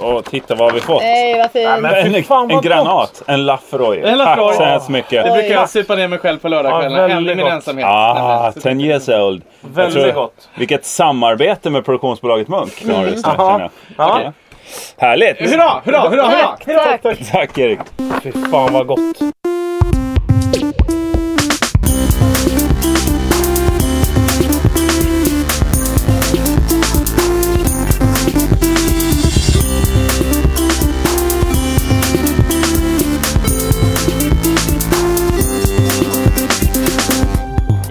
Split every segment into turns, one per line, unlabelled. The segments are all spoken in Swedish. Åh, titta vad har vi fått?
Nej, vad fint.
Men en,
fan, vad
en granat. En Lafroy.
En Lafroy.
Tack så hemskt mycket.
Det
Oj.
brukar jag supa ner mig själv på
Ja,
lördagskvällen.
väldigt
Även i min
gott.
ensamhet.
Ah,
Nämligen.
10 years old. Jag
Väldigt
tror-
gott.
Vilket samarbete med produktionsbolaget Munk. Mm. Just där,
Aha.
känner jag.
Ja.
Okej. Härligt!
Hurra, hurra, hurra, hurra!
Tack, tack.
Tack Erik!
Fy fan vad gott.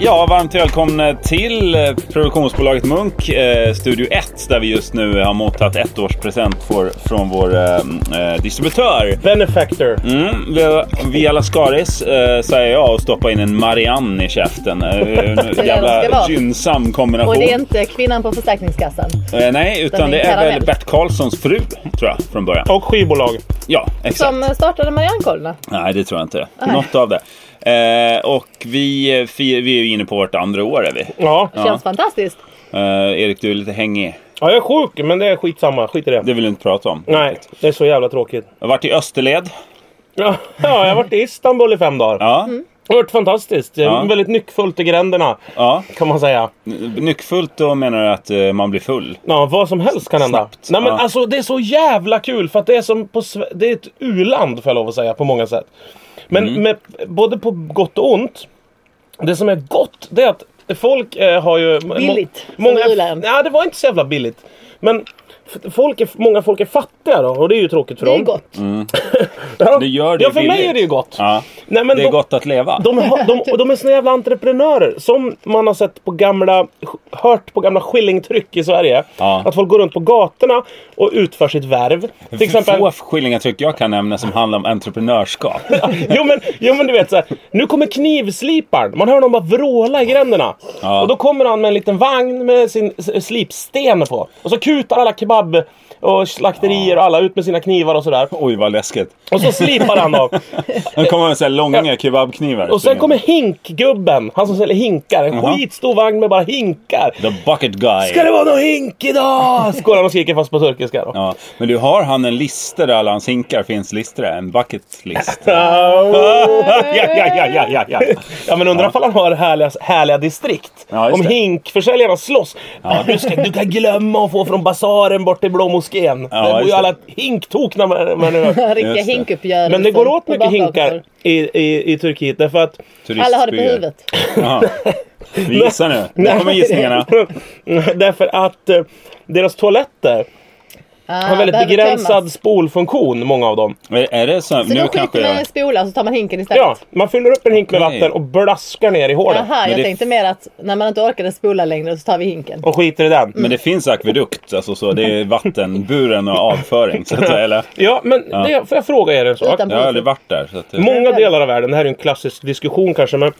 Ja, varmt välkomna till eh, produktionsbolaget Munk, eh, Studio 1, där vi just nu har mottagit ettårspresent för- från vår eh, eh, distributör.
Benefactor.
Mm, vi- via Lascaris eh, säger jag och stoppar in en Marianne i käften. Eh, En
ska
jävla
vara.
gynnsam kombination.
Och det är inte kvinnan på förstärkningskassan.
Eh, nej, utan
Den är
det är
karamell.
väl Bert Karlssons fru, tror jag, från början.
Och skivbolag.
Ja, exakt.
Som startade Mariannekollen.
Nej, det tror jag inte. Något av det. Eh, och vi, eh, fir- vi är ju inne på vårt andra år, är vi.
Ja.
Känns fantastiskt.
Eh, Erik, du är lite hängig.
ja, jag är sjuk men det är skitsamma. Skit i det.
Det vill du inte prata om.
Nej, det är så jävla tråkigt.
Jag har varit i Österled.
Ja, jag har varit i Istanbul i fem dagar.
Ja,
Mm.
Det har varit fantastiskt.
Ja.
Väldigt nyckfullt i gränderna.
ja.
Kan man säga.
N- Nyckfullt, då menar du att eh, man blir full?
Ja, vad som helst kan hända.
Snabbt.
Nej, men
Ja.
alltså, det är så jävla kul för att det är som på Sve- Det är ett u-land får jag lov att säga på många sätt. Men
Mm.
med, både på gott och ont. Det som är gott det är att folk eh, har ju...
Billigt,
Må, många,
som u-land.
Nej, det var inte så jävla billigt. Men f- folk är, många folk är fattiga då och det är ju tråkigt för
Det är
dem.
gott.
Mm,
Ja,
Det gör det
ja, för mig
billigt.
är det ju gott.
Ja.
Nej, men
Det
de-
är gott att leva.
de, har, de, och de är såna jävla entreprenörer som man har sett på gamla, hört på gamla skillingtryck i Sverige.
Ja.
Att folk går runt på gatorna och utför sitt värv. Till exempel...
Få skillingatryck jag kan nämna som handlar om entreprenörskap.
jo, men, jo men du vet så här, Nu kommer knivsliparen. Man hör dem bara vråla i gränderna.
Ja.
Och då kommer han med en liten vagn med sin s- slipsten på. Och så kutar alla kebab och slakterier och alla ut med sina knivar och sådär.
Oj, vad läskigt.
Och så slipar han dem.
De kommer med så här långa kebabknivar.
Och sen kommer hinkgubben. Han som säljer hinkar. En
Jaha.
skitstor vagn med bara hinkar.
The Bucket Guy.
Ska det vara någon hink idag? Skålar han och skriker fast på turkiska då.
Ja, men du har han en lista där alla hans hinkar finns listor där? En bucket list? ja, ja, ja, ja, ja, ja.
Ja men undrar ifall han har härliga, härliga distrikt.
Ja, just
Om
det.
hinkförsäljarna slåss. Du, ska, du kan glömma att få från basaren bort till Blå moskén. Där bor
just
ju
det.
alla hinktokna med, med nu.
Riktiga
Just det.
hinkuppgörelser.
Men det går åt
på
mycket
bakgator.
hinkar i, i, i Turkiet därför att...
Alla har det på huvudet.
Ja. Vi gissar nu. Nu kommer gissningarna.
därför att eh, deras toaletter
Ah,
har väldigt
behöver
begränsad
tömmas.
spolfunktion, många av dem.
Är är det så?
Så
nu
då skiter
kanske
man i
jag...
spola så tar man hinken istället?
Ja, man fyller upp en hink med
Okej.
vatten och blaskar ner i hålet.
Jaha, jag
det-
tänkte mer att när man inte orkade spola längre så tar vi hinken.
Och skiter i den.
Mm.
Men det finns akvedukt, alltså så. Det är vattenburen och avföring. Så att, eller?
Ja, men Det, får jag fråga er en sak?
Utan-
Jag har aldrig varit där. Så att,
Många delar av världen, det här är ju en klassisk diskussion kanske, men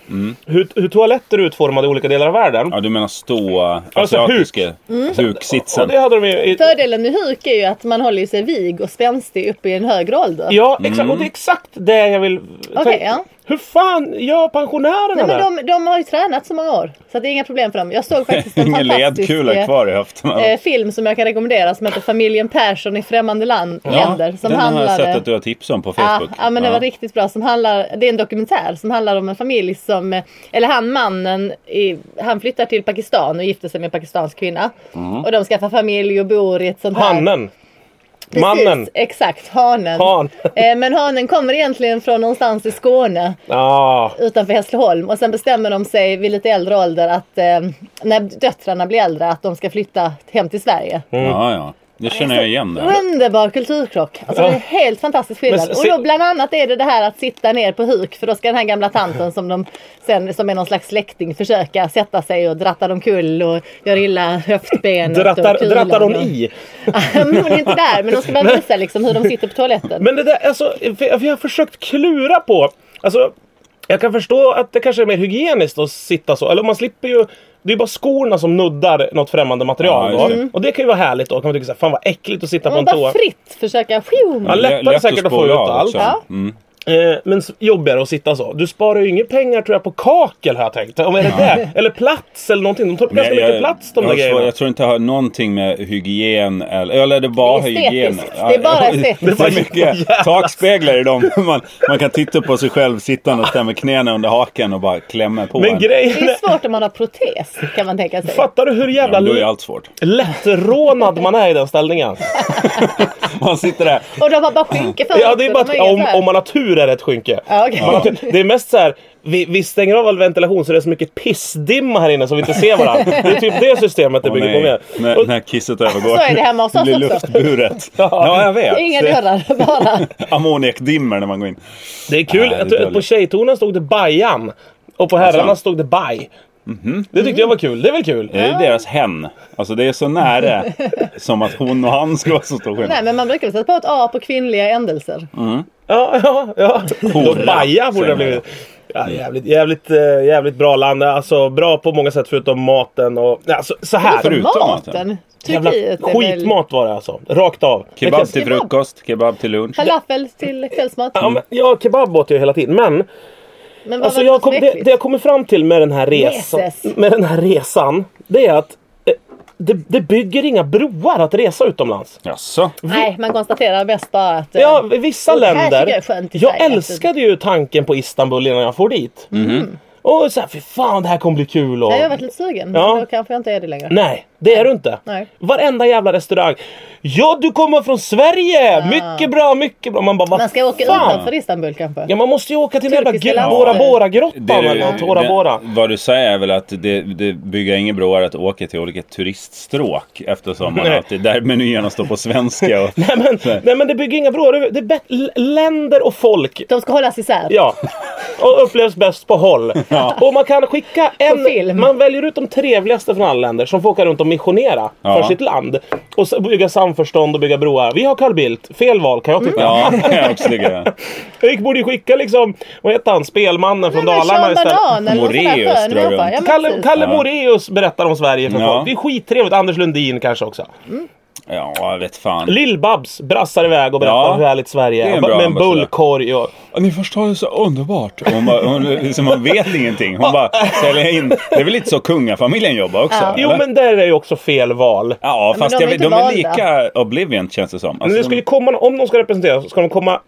hur, hur toaletter är utformade i olika delar av världen.
Mm. ja, du menar stå... äh,
Alltså, huk.
Asiatiska
Och
huksitsen.
det hade de ju... I,
Fördelen med huk är ju att man håller ju sig vig och spänstig upp i en högre ålder.
ja,
Mm.
exakt. Och det är exakt det jag vill...
Okej, ja.
Hur fan gör pensionärerna
Nej, men
det?
de, de har ju tränat så många år så att det är inga problem för dem. Jag såg faktiskt en
Ingen
fantastisk
ledkula
eh,
kvar i höfterna.
eh, film som jag kan rekommendera som heter Familjen Persson i främmande land, länder. Som
den har jag
handlade...
sett att du har tips om på
Ja,
Facebook.
ja men det var riktigt bra. Som handlar, det är en dokumentär som handlar om en familj som, eh, eller han mannen, i, han flyttar till Pakistan och gifter sig med en pakistansk kvinna.
Mm.
Och de skaffar familj och bor i ett sånt här.
Hannen.
Precis,
Mannen.
Exakt, hanen.
Han.
Eh, Men hanen kommer egentligen från någonstans i Skåne
Ja.
utanför Hässleholm och sen bestämmer de sig vid lite äldre ålder att eh, när döttrarna blir äldre att de ska flytta hem till Sverige.
Ja, ja. Det känner jag igen. Det.
Underbar kulturkrock. Alltså, Det är helt fantastiskt skillnad.
Men
Och
se-
då bland annat är det det här att sitta ner på huk för då ska den här gamla tanten som, de sen, som är någon slags släkting försöka sätta sig och drattar omkull och gör illa höftbenet.
Drattar,
och kulan
drattar hon
och-
i?
Men hon är inte där men de ska bara visa liksom, hur de sitter på toaletten.
Men det där, alltså, för jag, för jag har försökt klura på... Alltså, jag kan förstå att det kanske är mer hygieniskt att sitta så. Eller man slipper ju... Det är bara skorna som nuddar något främmande material
Ja,
då.
just det.
Och det kan ju vara härligt då. Kan man tycka såhär, fan vad äckligt att sitta på
Mm. Man
en
bara
toa.
fritt försöka... Phew.
Ja, lättare
Lätt
säkert att få
spåra
ut
av
allt.
också.
Ja.
Mm.
Eh, men s- jobbigare att sitta så. Du sparar ju inga pengar tror jag på kakel har jag tänkt. Om är det det? Eller plats eller någonting. De tar upp ganska
Jag-
mycket plats
jag,
de där
har svår-
grejerna.
Jag tror inte det har någonting med hygien eller... Eller det är bara
Det är
hygien.
estetiskt. Det är bara estetiskt.
Det är mycket takspeglar i dem. Man, man kan titta på sig själv sittande och ställa med knäna under haken och bara klämma på
Men
en.
Det
grejen
är
är,
svårt om man har protes kan man tänka sig.
fattar du hur jävla
Ja, men då är allt svårt.
lättrånad man är i den ställningen?
Man sitter där.
Och de har bara skynke för
Ja, det är
sig,
bara
de har
att,
inget
om,
här.
om man har tur är det ett skynke.
Ja, okej.
Man har tur. Det är mest så här, vi, vi stänger av all ventilation så det är så mycket pissdimma här inne så vi inte ser varandra. Det är typ det systemet det
Åh,
bygger på
nej,
med.
när, när kisset övergår.
Så är det hemma hos
Det
oss
blir
också.
luftburet. Ja, jag vet.
Inga
Det-
dörrar, bara.
Ammoniakdimmer när man går in.
Det är
Nej,
kul,
det är
att du-
dåligt. Alltså?
på tjejtornen stod det Bajan och på herrarna stod det Baj.
Mhm.
Det tyckte jag var kul, det är väl kul?
Det är deras hen. Alltså det är så nära som att hon och han skulle vara så stor
Nej,
skillnad.
men man brukar väl sätta på ett A på kvinnliga ändelser.
Mm.
Ja, ja, ja. Då Baja borde det ha blivit. Ja, jävligt, jävligt, eh, jävligt bra land. Alltså bra på många sätt förutom maten och... Ja, så, så här.
Förutom
Maten.
Jävla
Turkiet är väl...
skitmat var det alltså. Rakt av. Det kan-
Kebab typ. till frukost, kebab till lunch.
Falafel till kvällsmat.
Ja, men, ja, kebab åt jag hela tiden. Men
Men vad
alltså,
var det som
jag kom,
var
det,
äckligt?
det jag kommer fram till med den här resan,
Jesus.
med den här resan det är att eh, det, det bygger inga broar att resa utomlands.
Jaså?
Nej, man konstaterar bäst bara att... eh,
Ja, vissa
Och här
länder.
tycker jag är skönt i
jag
Sverige, alltså.
älskade ju tanken på Istanbul innan jag for dit. Och så här, fy fan det här kommer bli kul. Och...
Mm. Jag har varit lite sugen,
Ja.
men då kanske jag inte är det längre.
Nej, det är du inte.
Nej.
Varenda jävla restaurang. Ja, du kommer från Sverige! Mycket bra, mycket bra. Man bara, vad
Man ska åka
fan?
utanför Istanbul kanske.
Ja, man måste ju åka till den
Turkiska
jävla
landet.
Bora
Ja.
Det
Bora-grottan
är-
eller något. Bora
det-
Bora.
Vad du säger är väl att det, det bygger inga broar att åka till olika turiststråk eftersom man
Nej.
alltid, där menyerna står på svenska. Och,
Nej men, nej men det bygger inga broar. Det är bäst- l- länder och folk.
De ska hållas isär.
Ja. Och upplevs bäst på håll. Och man kan skicka en...
På film.
Man väljer ut de trevligaste från alla länder som får åka runt och missionera
Ja.
för sitt land. Och så bygga samförstånd och bygga broar. Vi har Carl Bildt. Fel val kan jag tycka.
ja, jag också tycker det.
Vi borde ju skicka liksom, vad heter han, spelmannen
Nej,
från
men
Dalarna
Sean
istället.
Banan eller någon sån där
Moraeus
skön
drar
människa.
runt.
Ja, men
Kalle,
precis.
Kalle Moraeus berättar om Sverige för
Ja.
folk. Det är skittrevligt. Anders Lundin kanske också.
Ja, jag vet fan.
Lill-Babs brassar iväg och berättar
Ja.
om hur härligt Sverige
Det är
är.
en bra
Med en
ambassadör.
bullkorg och...
Ni förstår ju så underbart. Hon, bara, hon, liksom, hon vet ingenting. Hon bara säljer in. Det är väl lite så kungafamiljen jobbar också?
Ja.
Jo
eller?
men där är ju också fel val.
Ja, fast
de
de,
är
jag,
inte
de är
valda.
lika Oblivion känns det som.
Men
Alltså,
det skulle ju komma, om de ska representera så ska de komma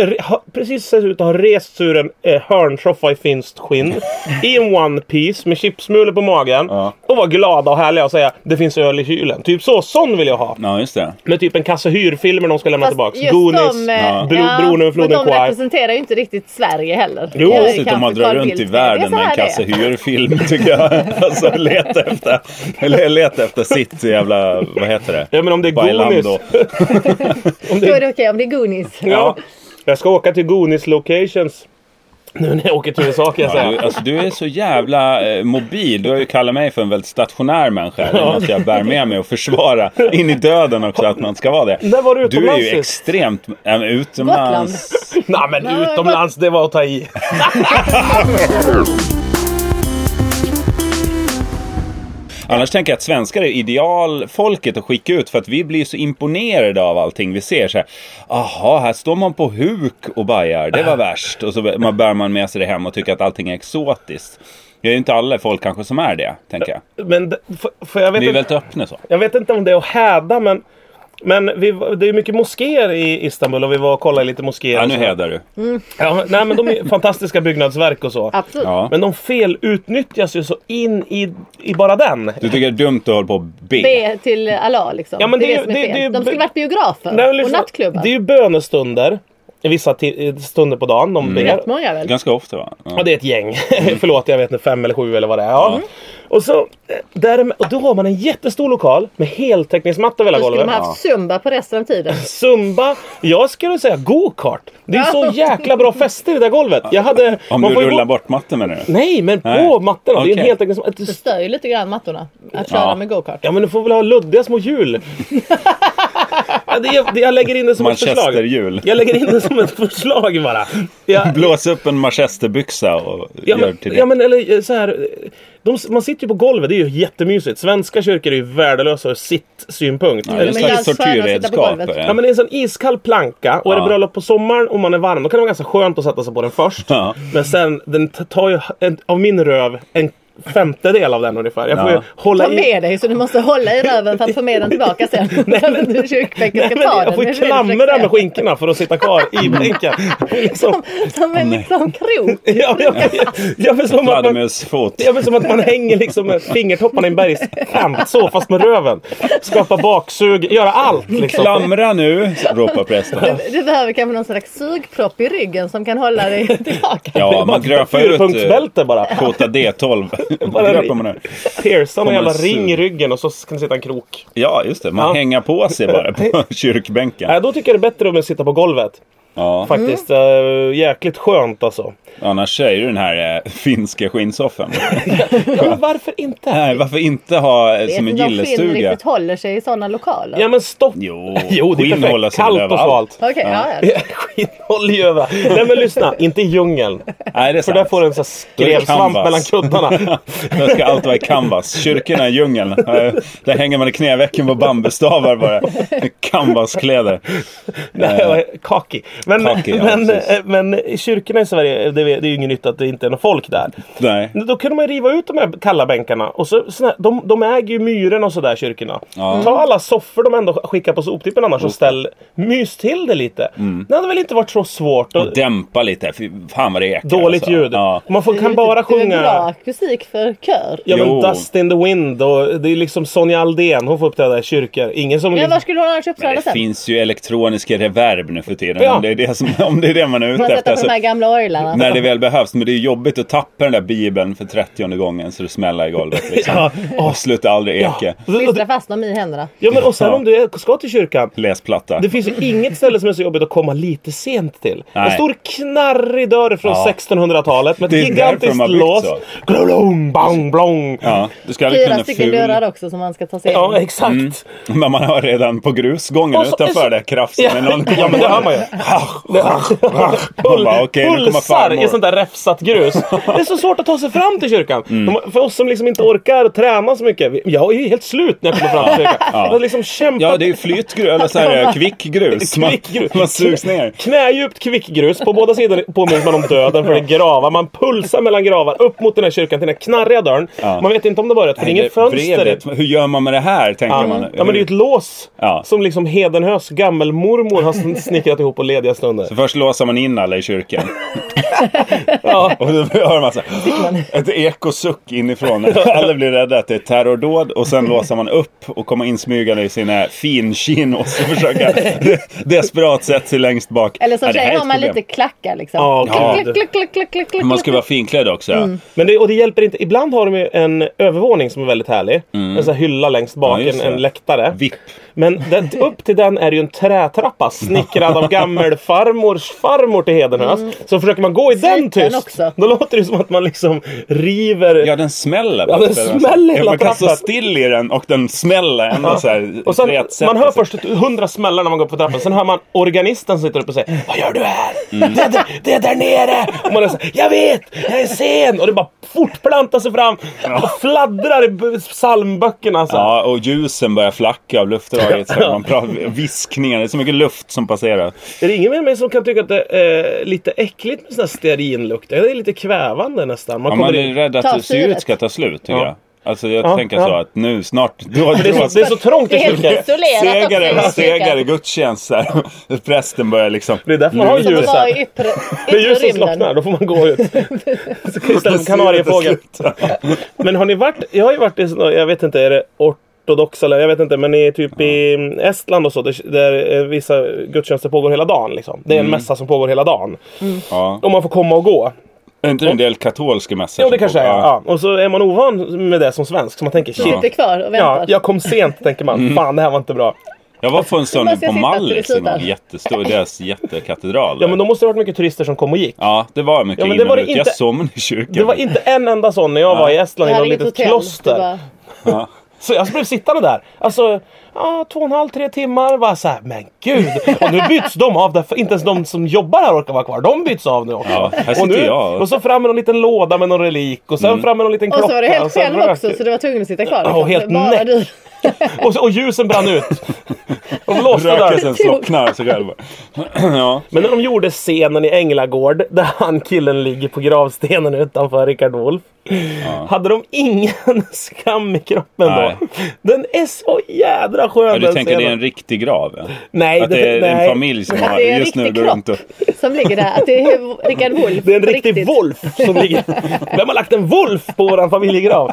re- ha, precis se ut att ha rest ur en eh, hörnsoffa i finskt skinn. I en one piece med chipsmulor på magen.
Ja.
Och vara glada och härliga och säga det finns öl i kylen. Typ så, sån vill jag ha.
Ja, just det.
Med typ en kasse hyrfilmer de ska lämna
Fast
tillbaks.
just
Goonies,
de, eh,
Ja.
Bro- Bron över floden
men de
Kwai.
representerar ju inte riktigt Sverige heller.
Jo,
Det är ju
Dessutom
kanske
man drar
Carl
runt
Bildt
i
fel. Det är
världen
så
med en
här det är.
kasse hyrfilm tycker jag. Alltså leta efter, eller leta efter sitt jävla, vad heter det?
Ja men om det är
Bailando.
Goonies. om det
Då
är
är det okej om det är Goonies.
Ja. Jag ska åka till Goonies locations. Nu när jag åker till USA kan jag
Ja, du,
säga.
alltså, du är så jävla eh, mobil. Du har ju kallat mig för en väldigt stationär människa. Det måste jag bära med mig och försvara in i döden också att man ska vara det.
När var du
Du är
utomlands
ju
sist?
extremt äh, utomlands.
Nej men
Nej,
utomlands, det var att ta i.
Annars tänker jag att svenskar är idealfolket att skicka ut för att vi blir så imponerade av allting vi ser. Så här, Aha, här står man på huk och bajar, det var värst. Och så man- bär man med sig det hem och tycker att allting är exotiskt. Det är ju inte alla folk kanske som är det, tänker jag.
Men d- för, för jag vet
Vi är
inte...
väldigt öppna så.
Jag vet inte om det är att häda men men vi, var- det är mycket moskéer i Istanbul och vi var och kollade i lite moskéer.
Ja,
och
nu
så.
hädar du.
Ja, men- nej men de är fantastiska byggnadsverk och så.
Absolut.
Ja.
Men de felutnyttjas ju så in i, i bara den.
Du tycker det är dumt att hålla på och be.
B till Allah liksom.
Ja, men
det
det
är
är
det som är
ju- det-
fel.
det är ju-
De skulle varit biografer
Nej, men
och
lyssna,
nattklubbar.
Det är ju bönestunder. Vissa ti- stunder på dagen
Mm.
de ber.
Rätt många väl?
Ganska ofta va? Ja.
Ja, det är ett gäng. Förlåt, jag vet inte, fem eller sju eller vad det är. Ja.
Mm.
Och, så, eh, där, och då har man en jättestor lokal med heltäckningsmatta över hela
Då skulle
golvet.
de haft Zumba på resten av tiden.
Zumba, jag skulle säga go-kart. Det är så jäkla bra fester i det där golvet. Jag hade...
Om
man
du
får ju
rullar
gå-
bort matten menar du?
Nej, men på
Nej.
mattorna. Det är en
Okej.
heltäckning som...
Det stör ju lite grann mattorna att köra
Ja.
med gokart.
Ja, men du får väl ha luddiga små hjul. Ja, det, jag, det, jag lägger in det som ett förslag.
Manchesterhjul.
Jag lägger in det som ett förslag bara. Jag,
Blås upp en manchesterbyxa och
Ja
gör
men,
till det.
ja men eller eh, så här. eh, De, man sitter ju på golvet, det är ju jättemysigt. Svenska kyrkor är ju värdelösa ur sitt synpunkt.
Ja,
Eller
det är
så-
en
men
slags
det är skönare att sitta på
tortyrredskap. eh.
golvet.
är det.
Ja men det är en sån iskall planka och är det
Ja.
bröllop på sommaren och man är varm då kan det vara ganska skönt att sätta sig på den först.
Ja.
Men sen, den t- tar ju en, av min röv en femtedel av den ungefär. Jag får ju
Ja.
hålla
Ta
i...
med dig så du måste hålla i röven för att få med den tillbaka sen. Nej, men, kyrkbänken
Nej,
ska
men
ta den.
jag får ju
Det är det
klamra
du försöker
med skinkorna för att sitta kvar i bänken. liksom,
säga. Som en
Nej.
liksom krok.
ja, jag, jag, jag, jag, som att man,
Fladdermusfot.
Ja men som att man hänger liksom med fingertopparna i en bergskant så fast med röven. Skapa baksug, göra allt liksom.
Klamra nu, ropar prästen.
Du, du behöver kanske någon slags sugpropp i ryggen som kan hålla dig tillbaka.
Ja, man gröpar ut... eh,
Fyrpunktsbälte bara.
Kota D12.
Bara
gröpar man ur.
Pierca någon
Kommer
jävla
en
ring i
sug.
ryggen och så ska det sitta en krok.
Ja, just det. Man
Ja.
hänger på sig bara på kyrkbänken.
Nej, då tycker jag det är bättre om jag sitter på golvet.
Ja.
Faktiskt. eh, jäkligt skönt alltså.
Annars är ju den här eh, finska skinnsoffan.
Ja, men varför inte?
Nej, varför inte ha eh,
Jag
som en
vet inte om skinn
gillestuga?
riktigt håller sig i sådana lokaler.
Ja men stopp!
Jo,
Jo, det är
skinn
perfekt.
håller sig alltså, väl
Kallt och
överallt.
svalt.
Okej, ja. ja.
Skinn håller ju överallt. Nej men lyssna, inte i djungeln.
Nej, det är
För
sant.
där får du en sån här
Då är det
skrevsvamp
canvas.
mellan kuddarna.
Där ska allt vara i canvas. Kyrkorna i djungeln. eh, Där hänger man i knävecken på bambustavar bara. Canvaskläder.
Nej, jag var kaki. Men,
Kaki, Eh, ja,
men,
precis.
eh, men i kyrkorna i Sverige, eh, det är det är ju ingen nytta att det inte är någon folk där.
Nej.
Då kunde man ju riva ut de här kalla bänkarna. Och så, såna, de, de äger ju myrorna och sådär kyrkorna.
Ja.
Ta alla soffor de ändå skickar på soptippen annars och ställ, mys till det lite.
Mm.
Det hade väl inte varit så svårt. Och,
Och dämpa lite. Fy fan vad det ekar.
dåligt
alltså.
ljud.
Ja.
Man får, kan bara
Det är
sjunga
bra akustik för kör.
ja, men
Jo.
Dust in the wind och det är liksom Sonja Aldén. Hon får uppträda i kyrkor. Ingen som...
Ja, var skulle hon annars
Men
uppträda
det
sen?
finns ju elektroniska reverb nu för tiden.
Ja.
Om, det är det som, om det är det man är ute
Man
efter.
sätter på
Alltså,
de här gamla orglarna.
när det väl behövs. Men det är jobbigt att tappa den där bibeln för 30 gången så det smäller i golvet. Liksom.
Ja.
Och slutar aldrig eka.
Klistra fast dem i händerna.
ja, men och sen
Ja.
om du är- ska till kyrkan.
Läsplatta.
Det finns ju inget ställe som är så jobbigt att komma lite sent till. En
Nej.
stor knarrig dörr från
Ja.
1600-talet med
Det är
ett
därför de
gigantiskt
har byggt
lås.
så.
Glolong, bang, blong. Ja.
Ja, du ska aldrig
Fyra
kunna
stycken
ful-
dörrar också som man ska ta sig in.
exakt.
Mm. Men man har redan på grusgången
Och så-
utanför det krafsen.
Ja,
Men någon
ja, men det hör man ju.
Man bara, okej, nu kommer
Pulsar
farmor.
i sånt där räfsat grus. Det är så svårt att ta sig fram till kyrkan.
Mm.
De- För oss som liksom inte orkar träna så mycket. vi- Jag är ju helt slut när jag kommer fram till kyrkan. Jag har liksom kämpat.
Ja, det är flytgrus, eller så här, kvickgrus. Man,
Kvickgrus.
man sugs ner.
Knädjupt kvickgrus. På båda sidor påminns man om döden för det är gravar. Man pulsar mellan gravar upp mot den här kyrkan till den här knarriga dörren.
Ja.
Man vet inte om det börjat för det är inget fönster.
Brevet, Hur gör man med det här, tänker
Ja.
man.
ja men det är ju ett lås
Ja.
som liksom Hedenhös gammelmormor har sn- snickrat ihop på lediga stunder.
Först låser man in alla i kyrkan.
Ja.
Och då hör man så här, ett ekosuck inifrån. Alla blir rädda att det är terrordåd och sen låser man upp och kommer insmygande i sina finchinos och försöka desperat sätta sig längst bak.
Eller som
Ja, det här
tjej
är ett
har man
problem.
lite klackar liksom.
Ja,
Klick,
gud.
klick, klick, klick, klick, klick,
Man ska
klick.
vara finklädd också. ja.
Mm.
Men det, och det hjälper inte. Ibland har de ju en övervåning som är väldigt härlig. En sån här hylla längst bak,
Mm. Ja, just
en,
det.
en läktare.
Vipp.
Men den, upp till den är det ju en trätrappa snickrad av gammelfarmors farmor till Hedenhös. Så försöker man gå i den
Sliten
tyst,
också.
då låter det som att man liksom river
Ja, den smäller.
Ja, den smäller hela
Man kan stå
trappan.
still i den och den smäller ändå så här.
Och sen,
rätt sätt.
man hör först hundra smällar när man går upp på trappen, sen hör man organisten som sitter uppe och säger Vad gör du här?
Mm.
Det, är där, det är där nere! Och man är så här, Jag vet! Jag är sen! Och det bara fortplantar sig fram och fladdrar i b- psalmböckerna. alltså. Så. här.
Ja, och ljusen börjar flacka av luftdraget. Så här, man pratar, viskningar, det är så mycket luft som passerar.
Är det ingen med mig som kan tycka att det är lite äckligt med sån här stearinlukt? Det är lite kvävande nästan. Man
Ja,
kommer
man är
in.
rädd
Ta
att syret
syret.
ska ta slut, tycker
Ja.
jag. Alltså jag
Ja,
tänker
ja.
så att nu snart... Då,
Det är,
då-
så, det är så trångt i
Det är helt
kyrkan.
isolerat
Segare,
också i kyrkan.
segare gudstjänst så här. Prästen börjar liksom...
Det är därför man har
Som att
ljus
vara i
här.
yttre,
Det är ljus
yttre
som
rymden.
slocknar, då får man gå ut. Så kan Istället för kanariefågel. Men har ni varit, jag har ju varit i, såna- jag vet inte, är det ortodoxa eller jag vet inte, men i typ i Estland och så där, där eh, vissa gudstjänster pågår hela dagen liksom. Det är en mässa som pågår hela dagen.
Ja.
Och man får komma och gå.
Är inte det en del katolska mässor?
Jo
som
det kanske är,
pågår?
ja. Och så är man ovan med det som svensk så man tänker shit.
Sitter kvar och
Ja,
väntar.
jag kom sent tänker man. Fan det här var inte bra.
Jag var på en sån
Man ska
på
sitta
Mallis en
absolut
gång.
där.
Jättestor, deras jättekatedral.
Ja men då måste det ha varit mycket turister som kom och gick.
Ja, det var mycket
Ja, men
in
det
och
var det
ut. Jag
inte-
somnade i kyrkan.
Det var inte en enda sån när jag var i Estland i
här
något
är inget
litet
hotell. Det är
kloster.
bara-
Ja.
Så jag blev sittande där. Alltså, ja, två och en halv, tre timmar. Bara så här, men gud! Och nu byts de av. Därför, inte ens de som jobbar här orkar vara kvar. De byts av nu också.
Ja, här
och, nu,
sitter jag. Mm.
och så fram med någon liten låda med någon relik. Och sen fram med någon liten klocka.
Och så var du helt
sen
själv
rök-
också så du var tvungen att sitta kvar. liksom.
Ja, och helt
Bara
näck.
du.
och, så, och ljusen brann ut. De låste där.
Rökelsen slocknar sig själv. ja.
Men när de gjorde scenen i Änglagård där han killen ligger på gravstenen utanför Rickard Wolff. Hade de ingen skam i kroppen då?
Nej.
Den är så jädra skön
ja, du
den
tänker det är en
scenen.
riktig grav? ja?
Nej,
Att det är
nej.
en familj som
Att
har...
det är en
Just nu
riktig
går runt och...
kropp som ligger där. Att det är Rickard Wolff.
Det är en
på
riktig
riktigt.
Wolf som ligger... Vem har lagt en Wolf på våran familjegrav?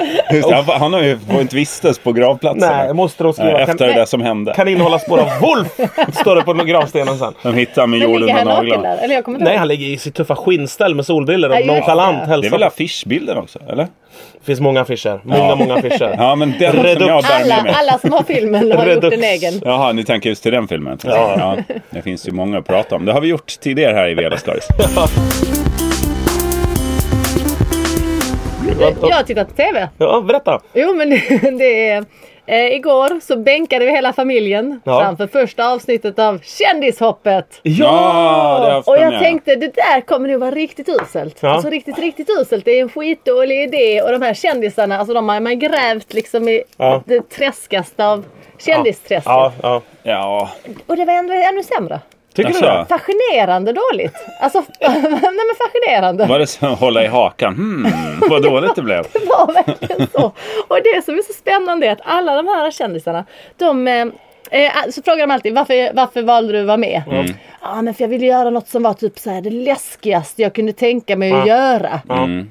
Alltså, Just det, han, han har ju får inte vistas på gravplatsen.
Nej, måste de skriva.
Eh,
Kan,
Efter det där som hände.
kan innehålla spår av Wolf! Står det på gravstenen sen.
De hittar med
Men
jorden
ligger
och
han naken
naglarna.
där? Eller jag kommer inte
Nej,
ihåg.
han ligger i sitt tuffa skinnställ med solbrillor och
Ja, just det.
nonchalant
Det är väl
hälsar.
affischbilden också? Eller?
Det finns många affischer. Många, många affischer.
Ja, men den som
Redux.
jag bär med
alla,
mig.
alla som har filmen har gjort
Redux.
en egen.
Jaha, ni tänker just till den filmen? Ja. Det finns ju många att prata om. Det har vi gjort tidigare här i Vela Stories.
Jag har tittat på TV.
Ja, berätta.
Jo men det är... Eh, igår så bänkade vi hela familjen
Ja.
framför första avsnittet av Kändishoppet.
Ja, det har haft
Och jag
premiär.
tänkte det där kommer nog vara riktigt uselt.
Ja.
Alltså riktigt, riktigt uselt. Det är en skitdålig idé och de här kändisarna, alltså de har man grävt liksom i
Ja.
det träskaste av kändisträsket.
Ja, ja.
Ja,
Och det var ändå ännu sämre.
Tycker
Alltså,
du det?
Fascinerande dåligt. Alltså, nej men fascinerande.
var det så att hålla i hakan? Hmm, vad dåligt det blev.
Det var verkligen så. Och det som är så spännande är att alla de här kändisarna, de eh, Eh, så frågar de alltid varför, varför valde du att vara med? Ja men för jag ville göra något som var typ så här det läskigaste jag kunde tänka mig att
Ja.
göra. Mm.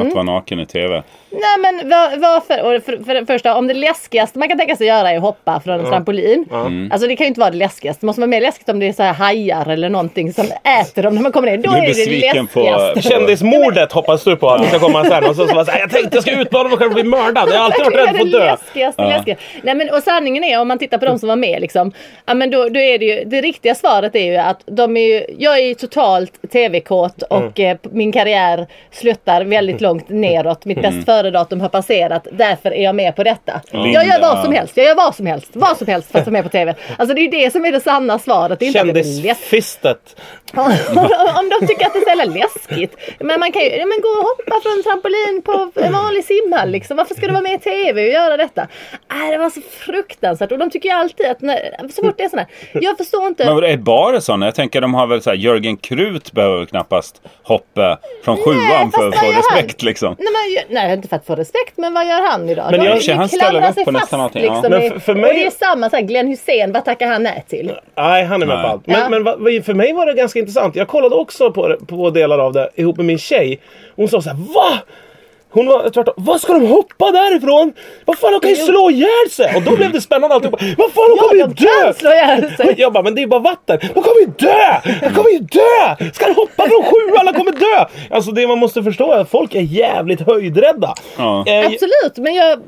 Att vara naken i tv.
Nej men vad- varför? Och för, för det första, om det läskigaste man kan tänka sig att göra är att hoppa från en trampolin. Alltså det kan ju inte vara det läskigaste. Det måste vara mer läskigt om det är så här hajar eller någonting som äter dem när man kommer in. Då
Du
är
är
det det
besviken på-
läskigaste.
Kändismordet hoppas du på att det ska komma sen. Och så, så bara så här, jag tänkte jag ska utmana mig själv och bli mördad. Jag har alltid varit
Det är
rädd för
det
att dö.
läskigaste,
Ja.
läskigaste. Nej, men, och sanningen är om man tittar på de som var med liksom. Ja, men då, då är det ju, det riktiga svaret är ju att de är ju, jag är ju totalt tv-kåt
Mm.
och eh, min karriär slutar väldigt långt neråt. Mitt
Mm.
bäst före-datum har passerat. Därför är jag med på detta.
Linda.
Jag gör vad som helst. Jag gör vad som helst. Vad som helst för att vara med på tv. Alltså det är ju det som är det sanna svaret. Det är inte att det är läskigt.
Kändisfistet.
Om, om de tycker att det är så jävla läskigt. Men man kan ju ja, men gå och hoppa från en trampolin på en vanlig simhall liksom. Varför ska du vara med i TV och göra detta? Äh, det var så fruktansvärt. Och de tycker ju alltid att när, så fort det är sådana här. Jag förstår inte.
Men vadå, är bara sådana? Jag tänker de har väl så här, Jörgen Krut behöver väl knappast hoppa från sjuan
fast
för
vad
att få
gör han?
respekt liksom.
Nej, men, nej, inte för att få respekt, men vad gör han idag?
Men
De
jag-
ju-
han
klamrar
ställer upp
sig
på
fast,
nästan allting, ja.
Liksom,
Men
i-
för- för
Och
mig-
det är samma, så här, Glenn Hussein, vad tackar han nej till?
Nej, han är med
Nej.
på allt. Men,
Ja.
men vad- vad- för mig var det ganska intressant. Jag kollade också på, det- på delar av det ihop med min tjej. Hon sa så här, VA? Hon var tvärtom. Vad ska de hoppa därifrån? Vad fan, de kan ju slå ihjäl sig! Och då blev det spännande alltihopa. Vad fan, de kommer ju
Ja, de
dö!
kan slå ihjäl sig.
Men Jag bara, men det är ju bara vatten. De kommer ju dö! De kommer ju dö! Ska de hoppa från sju? Alla kommer dö! Alltså det man måste förstå är att folk är jävligt höjdrädda.
Ja.
Eh,
Absolut, men jag,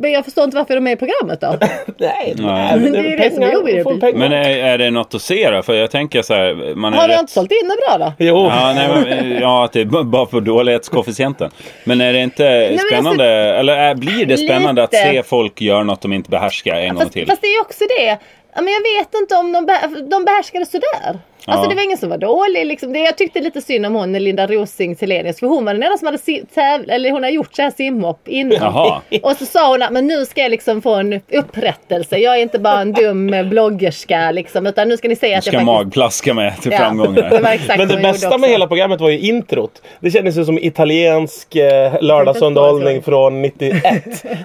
men jag förstår inte varför de är i programmet då.
nej,
Nej.
Men det är ju det som är obegripligt.
får pengar.
Men eh, är, är det något att se då? För jag tänker så här, man är
Har de
rätt...
inte sålt in det bra då?
Jo.
Ja, nej, men, ja, att det är b- bara för dålighetskoefficienten. Men är det inte
alltså-
spännande, eller är, blir det spännande
Lite.
att se folk göra något de inte behärskar en gång
Fast,
till?
fast det är ju också det. Ja, Men jag vet inte om de, beh de behärskade sådär. Alltså
Ja.
det var ingen som var dålig. Liksom. Det, jag tyckte lite synd om hon Linda Rosing Telenius. För hon var den enda som hade si- täv- eller hon har gjort så här simhopp innan.
Jaha.
Och så sa hon att men nu ska jag liksom få en upprättelse. Jag är inte bara en dum eh, bloggerska liksom. Utan nu ska ni se att
Ska
jag faktiskt...
magplaska med till
Ja,
framgång
Det
här.
var exakt
Men
vad
det
hon gjorde
bästa
också.
med hela programmet var ju introt. Det kändes ju som italiensk eh, lördagsunderhållning från 91. Det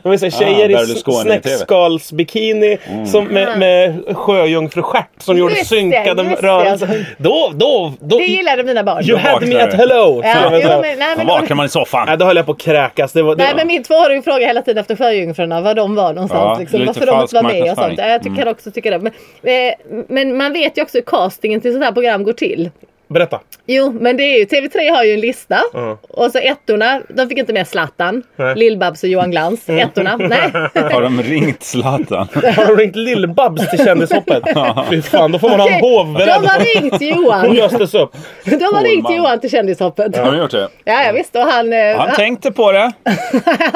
var så här,
Ah,
tjejer i
Berlusconi i
s-
TV. Mm.
snäckskalsbikini som med, med sjöjungfrustjärt som gjorde
Ah. Just det,
synkade
just det. alltså.
rörelser. Då, då, då...
Det gillade mina barn.
You had me at hello!
Ja,
skulle jag
jo,
säga.
men, nej,
Då
men,
vaknar man i soffan.
Nej, då höll jag på att kräkas. Det var, det
Nej men min tvååring frågar hela tiden efter sjöjungfrurna var de var någonstans.
Ja,
liksom,
lite
varför de
falsk
inte var med och sånt.
marknadsföring. Mm.
Ja, Jag ty- kan också tycka det. Men, eh, men man vet ju också hur castingen till sådana här program går till.
Berätta.
Jo, men det är ju, TV3 har ju en lista.
Ja.
Och så ettorna, de fick inte med Zlatan,
Nej.
Lill-Babs och Johan Glans. Ettorna, nej.
Har de ringt Zlatan?
Har de ringt Lill-Babs till kändishoppet? Fy fan, då får man ha en hov
de
beredd.
har ringt
Hon
Johan.
löstes upp.
De har ringt
man.
Johan till Kändishoppet.
Har de gjort det?
Ja, ja visst. Och han, eh,
Han
han,
tänkte på det.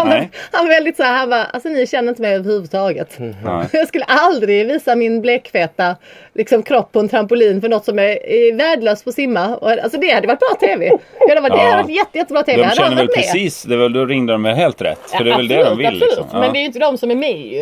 Nej.
han var väldigt så här, han bara, alltså ni känner inte mig överhuvudtaget.
Nej.
Jag skulle aldrig visa min blekfeta liksom, kropp på en trampolin för något som är eh, värdelöst på att simma. Och, alltså det hade varit bra TV. Det hade varit, det hade
Ja.
varit jätte, jättebra TV.
De
Hade han
känner väl
varit med?
precis, det är väl, då ringde de väl helt rätt. För det är väl det de
absolut,
vill
absolut.
liksom. Ja.
Men det är ju inte de som är med ju.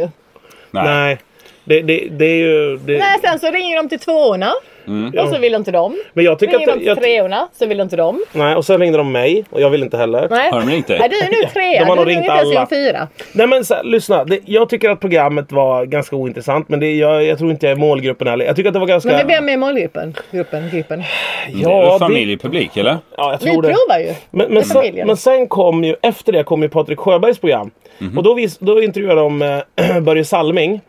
Nej.
Nej, det, det, det är ju... Det.
Nej, sen så ringer de till tvåorna.
Mm.
Och så vill inte de.
Men jag tycker
Ringer de
att...
till
Jag,
treorna, så vill inte de.
nej, och sen ringde de mig och jag vill inte heller.
Nej.
Har de ringt dig?
Nej, du är nu trea.
De har
Du
nog
är
ringt
inte ens i
alla.
en fyra.
Nej men så här, lyssna. Det, jag tycker att programmet var ganska ointressant men det, jag, jag tror inte jag är målgruppen heller. Jag tycker att det var ganska...
Men vem är med i målgruppen? Gruppen, gruppen.
Det är väl
ja, det,
familjepublik eller?
ja, jag
Vi
tror det.
provar ju.
Men, men, sen,
familjen.
men sen kom ju, efter det kom ju Patrik Sjöbergs program.
Mhm.
Och då, vis, då intervjuade de eh, Börje Salming.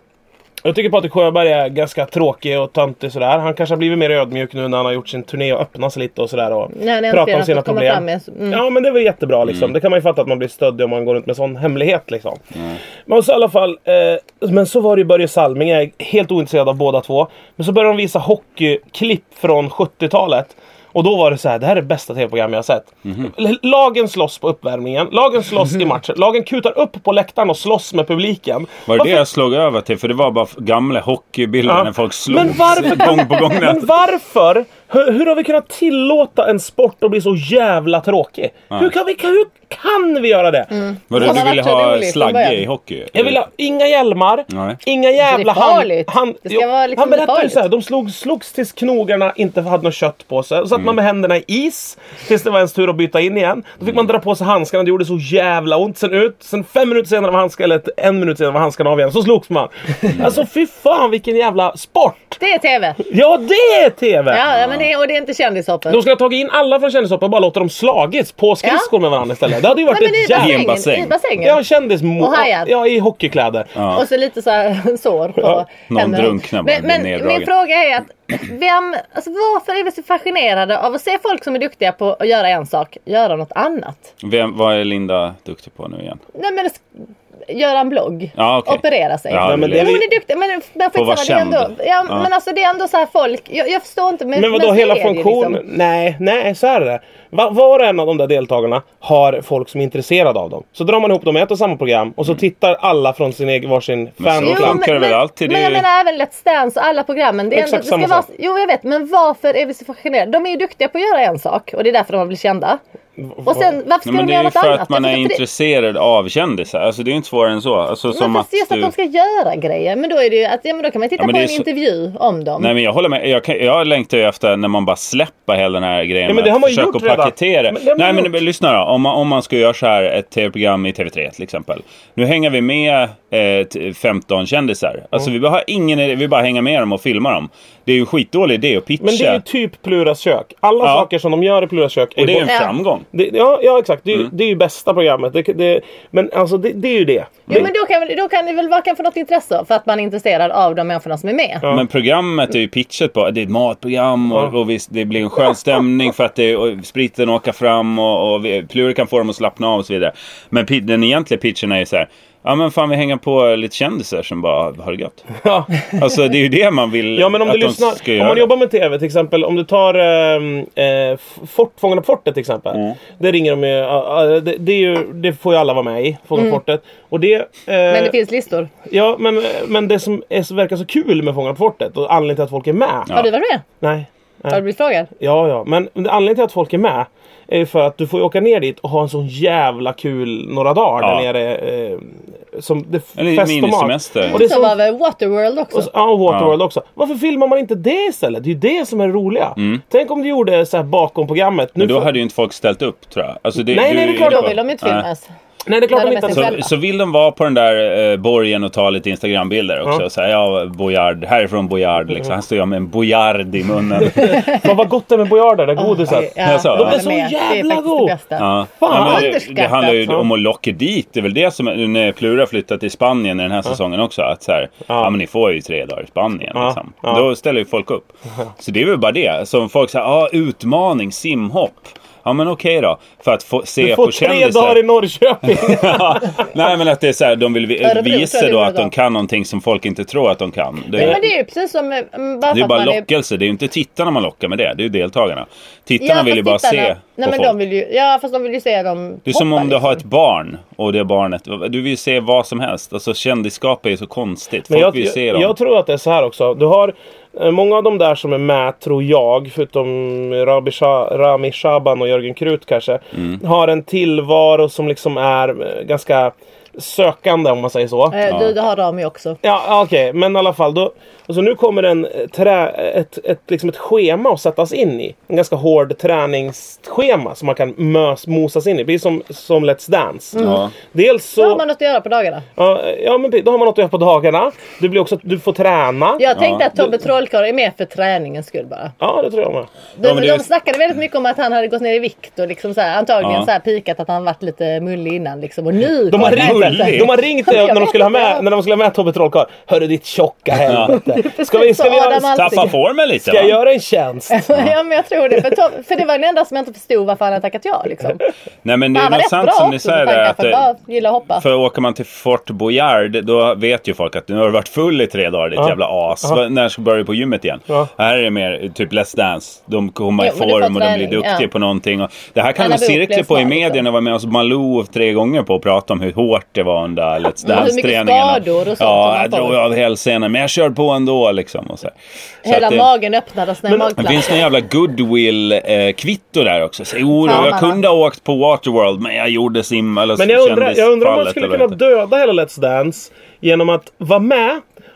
Jag tycker Patrik Sjöberg är ganska tråkig och töntig sådär. Han kanske har blivit mer ödmjuk nu när han har gjort sin turné och öppnat sig lite och sådär. Och
När han
pratat
äntligen
om
har
sina
fått komma
problem.
fram med. Mm.
Ja men det är väl jättebra liksom.
Mm.
Det kan man ju fatta att man blir stöddig om man går runt med sån hemlighet liksom. Men så i alla fall. Eh, men så var det ju Börje Salming. Jag är helt ointresserad av båda två. Men så började de visa hockeyklipp från 70-talet. Och då var det så här, det här är det bästa tv-program jag har sett.
Mhm.
L- Lagen slåss på uppvärmningen, lagen slåss i matcher, lagen kutar upp på läktaren och slåss med publiken.
Var det det
Varför-
jag slog över till? För det var bara f- gamla hockeybilder
Ja.
när folk
Men
slogs
varför-
gång på gång.
Men varför? Hur, hur har vi kunnat tillåta en sport att bli så jävla tråkig? Hur, kan vi, hur kan vi göra det?
Var det
Har man
du ville
varit
ha
rolig från
slagge
början?
i hockey?
Jag vill ha inga hjälmar,
Nej.
inga jävla
Alltså, Det är farligt.
hand...
Det ska vara liksom
han berättar ju
farligt.
såhär, de slog, slogs tills knogarna inte hade något kött på sig. Så satt man med händerna i is tills det var ens tur att byta in igen. Då fick man dra på sig handskarna, det gjorde så jävla ont. Sen ut, sen fem minuter senare var handskarna, eller en minut senare var handskarna av igen. Så slogs man. Alltså fy fan vilken jävla sport!
Det är TV.
Ja det är TV!
Ja, ja, men det, och det är inte kändishoppet.
De skulle ha tagit in alla från kändishoppen och bara låtit dem slagits på skridskor med varandra istället. Det hade ju varit
Nej, men i
ett jävla...
I en
bassängen.
bassäng.
I bassängen.
Ja, kändismo...
Och hajar.
Ja, i hockeykläder.
Och så lite så här sår på
Ja,
någon
händerna.
drunknar bara,
Men,
blir
men
neddragen.
min fråga är att vem, alltså varför är vi så fascinerade av att se folk som är duktiga på att göra en sak, göra något annat?
Vem, vad är Linda duktig på nu igen?
Nej men s- göra en blogg,
Ja, okej.
operera sig.
Ja,
Nej, men
det
det
är
Jo,
vi...
hon är duktig men, men
Får vara
skitsamma, det är
känd.
ändå, ja,
Ja.
men alltså det är ändå så här folk, jag, jag förstår inte men,
Men
men
vadå
så är
hela
det ju
funktionen?
liksom.
Nej, nej så här är det. Va- var och en av de där deltagarna har folk som är intresserade av dem. Så drar man ihop dem i ett och samma program och så tittar alla från sin egen varsin
Mm. Men så-
fan och
Jo,
klan.
funkar det väl alltid, det
men
är
jag
ju-
menar även Let's Dance och alla programmen. Det är
Exakt
ändå, det ska
samma
vara,
sak.
jo jag vet men varför är vi så fascinerade? De är ju duktiga på att göra en sak och det är därför de har blivit kända. Och sen varför ska
Nej, men det
de göra
är ju
något
för
annat?
att man
Jag
är
tycker det-
intresserad av kändisar. Alltså det är ju inte svårare än så. Alltså, som
men
att
fast just att
du...
de ska göra grejer. Men då, är det ju att, ja, men då kan man titta
Ja, men
på
det är
en
så-
intervju om dem.
Nej men jag håller med. Jag, kan, jag längtar ju efter när man bara släpper hela den här grejen
Ja, men
med
det har
att
man ju
försöka
gjort
att
redan.
paketera.
Men det har man
Nej men,
gjort.
men lyssna då. Om man, om man ska göra så här ett tv-program i TV3 till exempel. Nu hänger vi med eh, t- 15 kändisar. Alltså vi har ingen idé. Vi bara hänger med dem och filmar dem. Det är ju en skitdålig idé att pitcha.
Men det är ju typ Pluras kök. Alla
Ja.
saker som de gör i Pluras kök är
och det är ju Mm.
bo-
en
Ja.
framgång.
det, ja, ja, exakt. Det är, ju- det är ju bästa programmet. Det, det, men alltså det, det är ju det.
Jo, men då kan, då kan det väl vara kan få något intresse av, för att man är intresserad av de människorna som är med.
Ja.
Men programmet är ju pitchat på. Det är ett matprogram och,
Ja.
och visst, det blir en skön stämning för att det, och spriten åker fram och, och vi- Pluri kan få dem att slappna av och så vidare. Men pi- den egentliga pitchen är ju så här. Ja men fan vi hänger på lite kändisar som bara har det gött.
Ja.
Alltså det är ju det man vill
Ja men om
att
du
de
lyssnar,
ska göra.
om man jobbar med TV till exempel, om du tar ehm, eh, Fort, Fångarna på fortet till exempel.
Mm.
Det ringer de ju, ja, ja, det, det, är ju, det får ju alla vara med i, Fångarna på fortet. Och det, eh,
Mm. Men det finns listor.
ja, men, men det som är, så- verkar så kul med Fångarna på fortet och anledningen till att folk är med.
Har du varit med?
Nej.
Har du blivit frågad?
Ja, ja, men anledningen till att folk är med är ju för att du får ju åka ner dit och ha en sån jävla kul några dagar
Ja.
där nere. Eh, som det
Eller en
fest och mat.
minisemester.
Och det är
Så
sån
var väl eh, Waterworld också?
Och så, ja, och Waterworld också. Varför filmar man inte det istället? Det är ju det som är det roliga. Tänk om du gjorde så här bakom programmet. Nu
Mm. Men då
får-
hade ju inte folk ställt upp tror jag. Alltså, det,
Nej,
du,
nej, det är klart.
då vill de ju inte
Nej.
filmas.
Nej, det är klart
Där
de
de
inte...
är
Så...
sig
Så, så vill de vara på den där eh, borgen och ta lite Instagrambilder också.
Ja.
Och säga ja, Bojard, härifrån Bojard liksom. Han står jag med en Bojard i munnen.
Fan vad gott det är med bojarder, det där godiset.
Jag sa,
håller
de är
så
med. Det är
jävla
faktiskt
god.
det bästa.
Ja.
Fan,
Ja, men det, det
underskattat.
handlar ju
Ja.
om att locka dit. Det är väl det som är- när Plura flyttat till Spanien i den här säsongen också. Att så här, ja. men ni får ju tre dagar i Spanien.
Ja,
Liksom.
ja.
Då ställer ju folk upp. Så det är väl bara det. Som folk säger, ah, utmaning, simhopp. Ja men okej då. För att få
Du
se
får
på
tre
kändisar.
dagar i Norrköping.
Ja. Nej men att det är så här, de vill vi-
Örebro tror jag
visa
det
då
var
att de
då.
kan någonting som folk inte tror att de kan. Det
Nej, men
är,
det är ju precis som... eh, mm,
det är
Bara för
ju
att
bara
man är-
lockelse. Det är ju inte tittarna man lockar med det. Det är ju deltagarna. Tittarna vill
fast
ju bara
tittarna-
se
Nej,
på
men
folk.
de vill ju, Ja, fast de vill ju se dem
Det är som om du har ett barn och det barnet, du vill ju se vad som helst. Alltså kändisskap är ju så konstigt.
Men
Folk
jag,
vill ju se dem.
jag tror att det är så här också. Du har eh, många av de där som är med, tror jag, förutom Rabi Sha- Rami Shaban och Jörgen Krut kanske,
Mm.
har en tillvaro som liksom är eh, ganska sökande om man säger så.
Eh, Du, det har de ju också.
Ja, ah, okej, men i alla fall. Då, alltså nu kommer en eh, trä, ett, ett, liksom ett schema att sättas in i. En ganska hård träningsschema som man kan mös, mosas in i. Precis som, som Let's Dance.
Ja.
Dels så...
Mm. Då har man något att göra på dagarna.
Ja, eh, ja, men då har man något att göra på dagarna. Du, blir också, du får träna.
Jag tänkte att Tobbe Trollkarl är med för träningens skull bara.
Ja, det tror jag med.
De,
Ja, men det är-
de snackade väldigt mycket om att han hade gått ner i vikt och liksom så här, antagligen
Ja.
så här pikat att han varit lite mullig innan liksom. Och nu...
De har,
Ja, det är
ringt,
mulligt.
de har ringt dig när de skulle ha
Jag
med,
vet.
när de skulle ha med Tobbe Trollkarl. Hörru ditt tjocka helvete. Ska, vi, ska, vi göra,
Adam
ska
Alsing.
Tappa formen lite
jag
va?
göra en tjänst?
ja men jag tror det. För, Tobbe, för det var den enda som jag inte förstod varför han hade tackat ja liksom.
Nej men det är
han var
något
rätt
sant
bra
som ni
också
säger
med
där.
tankar
Att,
för
det-
bara gillar att hoppa.
för åker man till Fort Boyard då vet ju folk att nu har du varit full i tre dagar ditt jävla as. Va- När ska du börja på gymmet igen?
Ja.
Här är det mer typ Let's Dance. De kommer i
Jo, men du får
form och de blir
träning,
duktiga
ja.
på någonting. Och det här kan
Alla
de
blir
cirkla på i
upplevelser,
medierna.
liksom.
Jag var med hos Malou tre gånger på att prata om hur hårt det var under Let's
Mm, hur mycket
Dance-träningen.
skador och sånt som
Ja,
man
jag
får.
drog av hälsenan men jag kör på ändå liksom. Och så här. Så
Hela
att det-
magen öppnades när
Det
magplattan.
finns någon jävla goodwill-kvitto där också. Så, jo, då,
Fan,
jag
vad
kunde ha åkt på Waterworld men jag gjorde sim eller
Men jag undrar, jag undrar om man
kändisfallet
skulle
eller
kunna
vad det
döda hela Let's Dance genom att vara med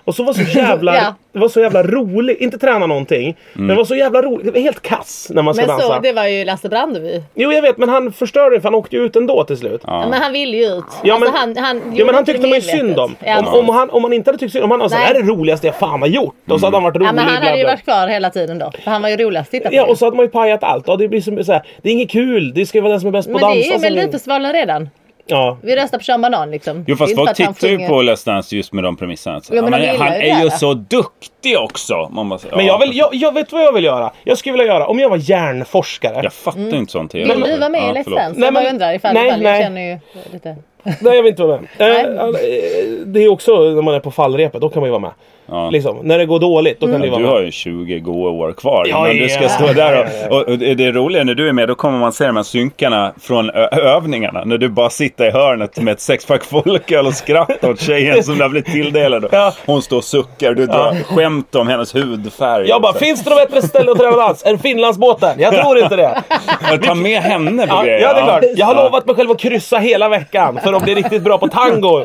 och så var så jävla,
Ja.
det var så jävla rolig, inte träna någonting,
Mm.
men var så jävla rolig, det var helt kass när man ska
Men
dansa.
så, det var ju Lasse Brandeby.
Jo jag vet men han förstörde det för han åkte ju ut ändå till slut. Ja.
Men han ville ju ut.
men,
alltså, han, han
ja,
gjorde
men han
inte det
tyckte man ju
medvetet.
synd om.
Ja.
Om, om, han, om han inte hade tyckt synd om han hade sagt det
Nej.
här är det roligaste jag fan har gjort. Och så hade han varit rolig.
Ja, men han
bla,
hade ju
bla.
varit kvar hela tiden då. För han var ju roligast att titta på.
Ja
ju.
och så hade man ju pajat allt. Ja, det blir som så här, det är inget kul. Det ska ju vara den som är bäst på
men
dans.
det är ju
och så-
Melodifestivalen redan.
ja.
Vi röstar på Sean Banan liksom.
Jo
Det
fast
är inte för
folk
att han
tittar ju
sjunger.
på Let's Dance just med de premisserna. Så,
Jo, men de
han
gillar ju
är
det,
ju
va?
så duktig också! Man bara, så,
Men
ja,
jag, vill, jag, jag vet vad jag vill göra. Jag skulle vilja göra, om jag var hjärnforskare.
jag fattar inte sånt. Jag-
Mm. Vill du vara med
Ja,
i Let's
förlåt.
Dance?
Nej,
Jag bara
men-
undrar ifall,
nej,
ifall
nej.
jag känner ju lite...
Nej jag vill inte vara med. Eh, eh, det är också när man är på fallrepet, då kan man ju vara med.
Ja.
Liksom, när det går dåligt, då kan du
Ja,
vara
du
med.
har ju 20 goa år kvar
Ja,
innan du ska
ja.
stå där och, och det är roliga när du är med då kommer man se de här synkarna från ö- övningarna. När du bara sitter i hörnet med ett sexpack folköl och skrattar åt tjejen som du har blivit tilldelad.
Ja.
Hon står och suckar du drar skämt om hennes hudfärg.
Jag bara, finns det något bättre ställe att träna dans än Finlandsbåten? Jag tror inte det.
Jag tar med henne på
Ja,
grejer.
ja det är klart. Jag har lovat mig själv att kryssa hela veckan för att bli riktigt bra på tango.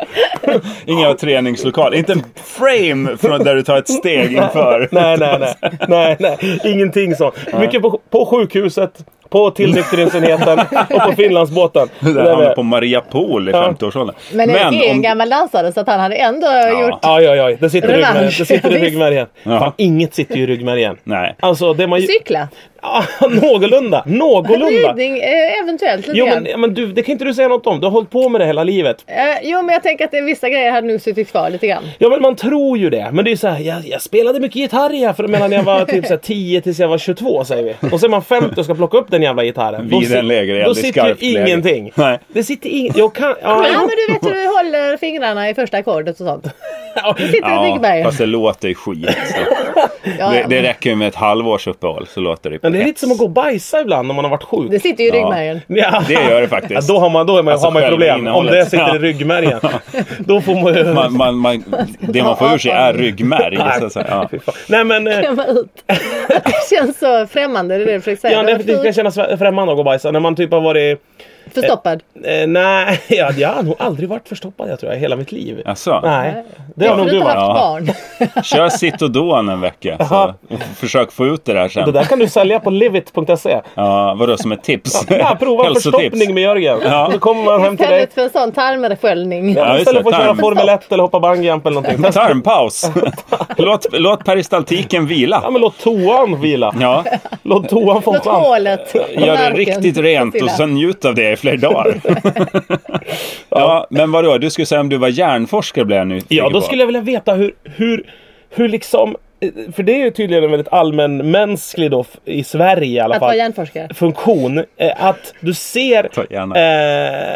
Inga träningslokal. Inte en frame från där du tar ett steg inför.
Nej, nej, nej. nej, nej. Ingenting sånt. Mycket på, på sjukhuset, på tillnyktringsenheten och på Finlandsbåten.
Där
Där
hamnar
med-
på Maria Pool i 50-årsåldern.
Men Erik är ju en
om-
gammal dansare så att han hade ändå gjort...
Aj, aj, aj. Det sitter i
Revansch.
ryggmärgen. Det sitter i
Visst.
ryggmärgen.
Ja.
Fan, inget sitter ju i ryggmärgen.
Nej.
Alltså, det man ju...
Cykla?
Ja, någorlunda. Någorlunda.
Ridning eh, eventuellt lite
Jo
grann.
men, ja, men du, det kan inte du säga något om. Du har hållit på med det hela livet.
Eh, jo men jag tänker att det, vissa grejer hade nog suttit kvar lite grann.
Ja men man tror ju det. Men det är ju så här, jag, jag spelade mycket gitarr jag för, mellan jag var typ så här, 10 tills jag var 22 säger vi. Och så är man 50 och ska plocka upp den jävla gitarren. Då
Vid
sit-
en lägereld
Då
i
sitter
skarpt
ju
läge.
ingenting.
Nej.
Det sitter inget. Jag kan... Ja,
Ja men du vet hur du håller fingrarna i första ackordet och sånt.
ja,
Det sitter i ryggmärgen.
fast det låter ju skit. Så.
Ja,
Det,
ja.
det räcker ju med ett halvårs uppehåll så låter det
men det är
pets.
lite som att gå och bajsa ibland när man har varit sjuk.
det sitter ju i ryggmärgen.
Ja.
Det gör det
Ja,
faktiskt.
då har man, då är man,
Alltså,
har man ett
själva
problem. Om
innehållet.
det sitter
Ja.
i ryggmärgen. då får man ju...
Man, man, man, det man får ur sig är ryggmärg. Så, att säga. ja.
Fy fan. Nej men... eh,
Klämma ut. Det känns så främmande, det är det du försöker säga.
Ja,
Det
det,
var
det kan
fint.
kännas frä- främmande att gå och bajsa när man typ har varit
Förstoppad.
Eh, nej, jag, jag har nog aldrig varit förstoppad jag tror jag, i hela mitt liv.
Alltså,
Nej, det
Det
har
har
nog
du
du
inte haft
varit.
Ja.
barn.
kör Citodon en vecka. Så,
Jaha.
försök få ut det där sen.
Det där kan du sälja på livit.se.
Ja, vadå som ett tips?
Ja, prova förstoppning med Jörgen.
Ja.
Då kommer man hem till dig.
Istället för en sån tarmsköljning.
Ja,
Ja,
just
istället
det,
för att köra
tarm.
Formel 1 eller hoppa bungyjump eller någonting. Testa-
Tarmpaus. låt, låt peristaltiken
Ja,
vila.
men låt toan vila.
Ja,
Låt toan få en
Låt
chans.
hålet
gör det riktigt rent och sen njut av det i flera dagar. ja, men vadå? Du skulle säga om du var hjärnforskare blev jag nyfiken
Ja, då skulle jag vilja veta hur, hur, hur liksom... eh, För det är ju tydligen en väldigt allmänmänsklig då, f- i Sverige i alla
Att vara
fall,
hjärnforskare.
funktion. eh, Att du ser
Ta gärna.
eh,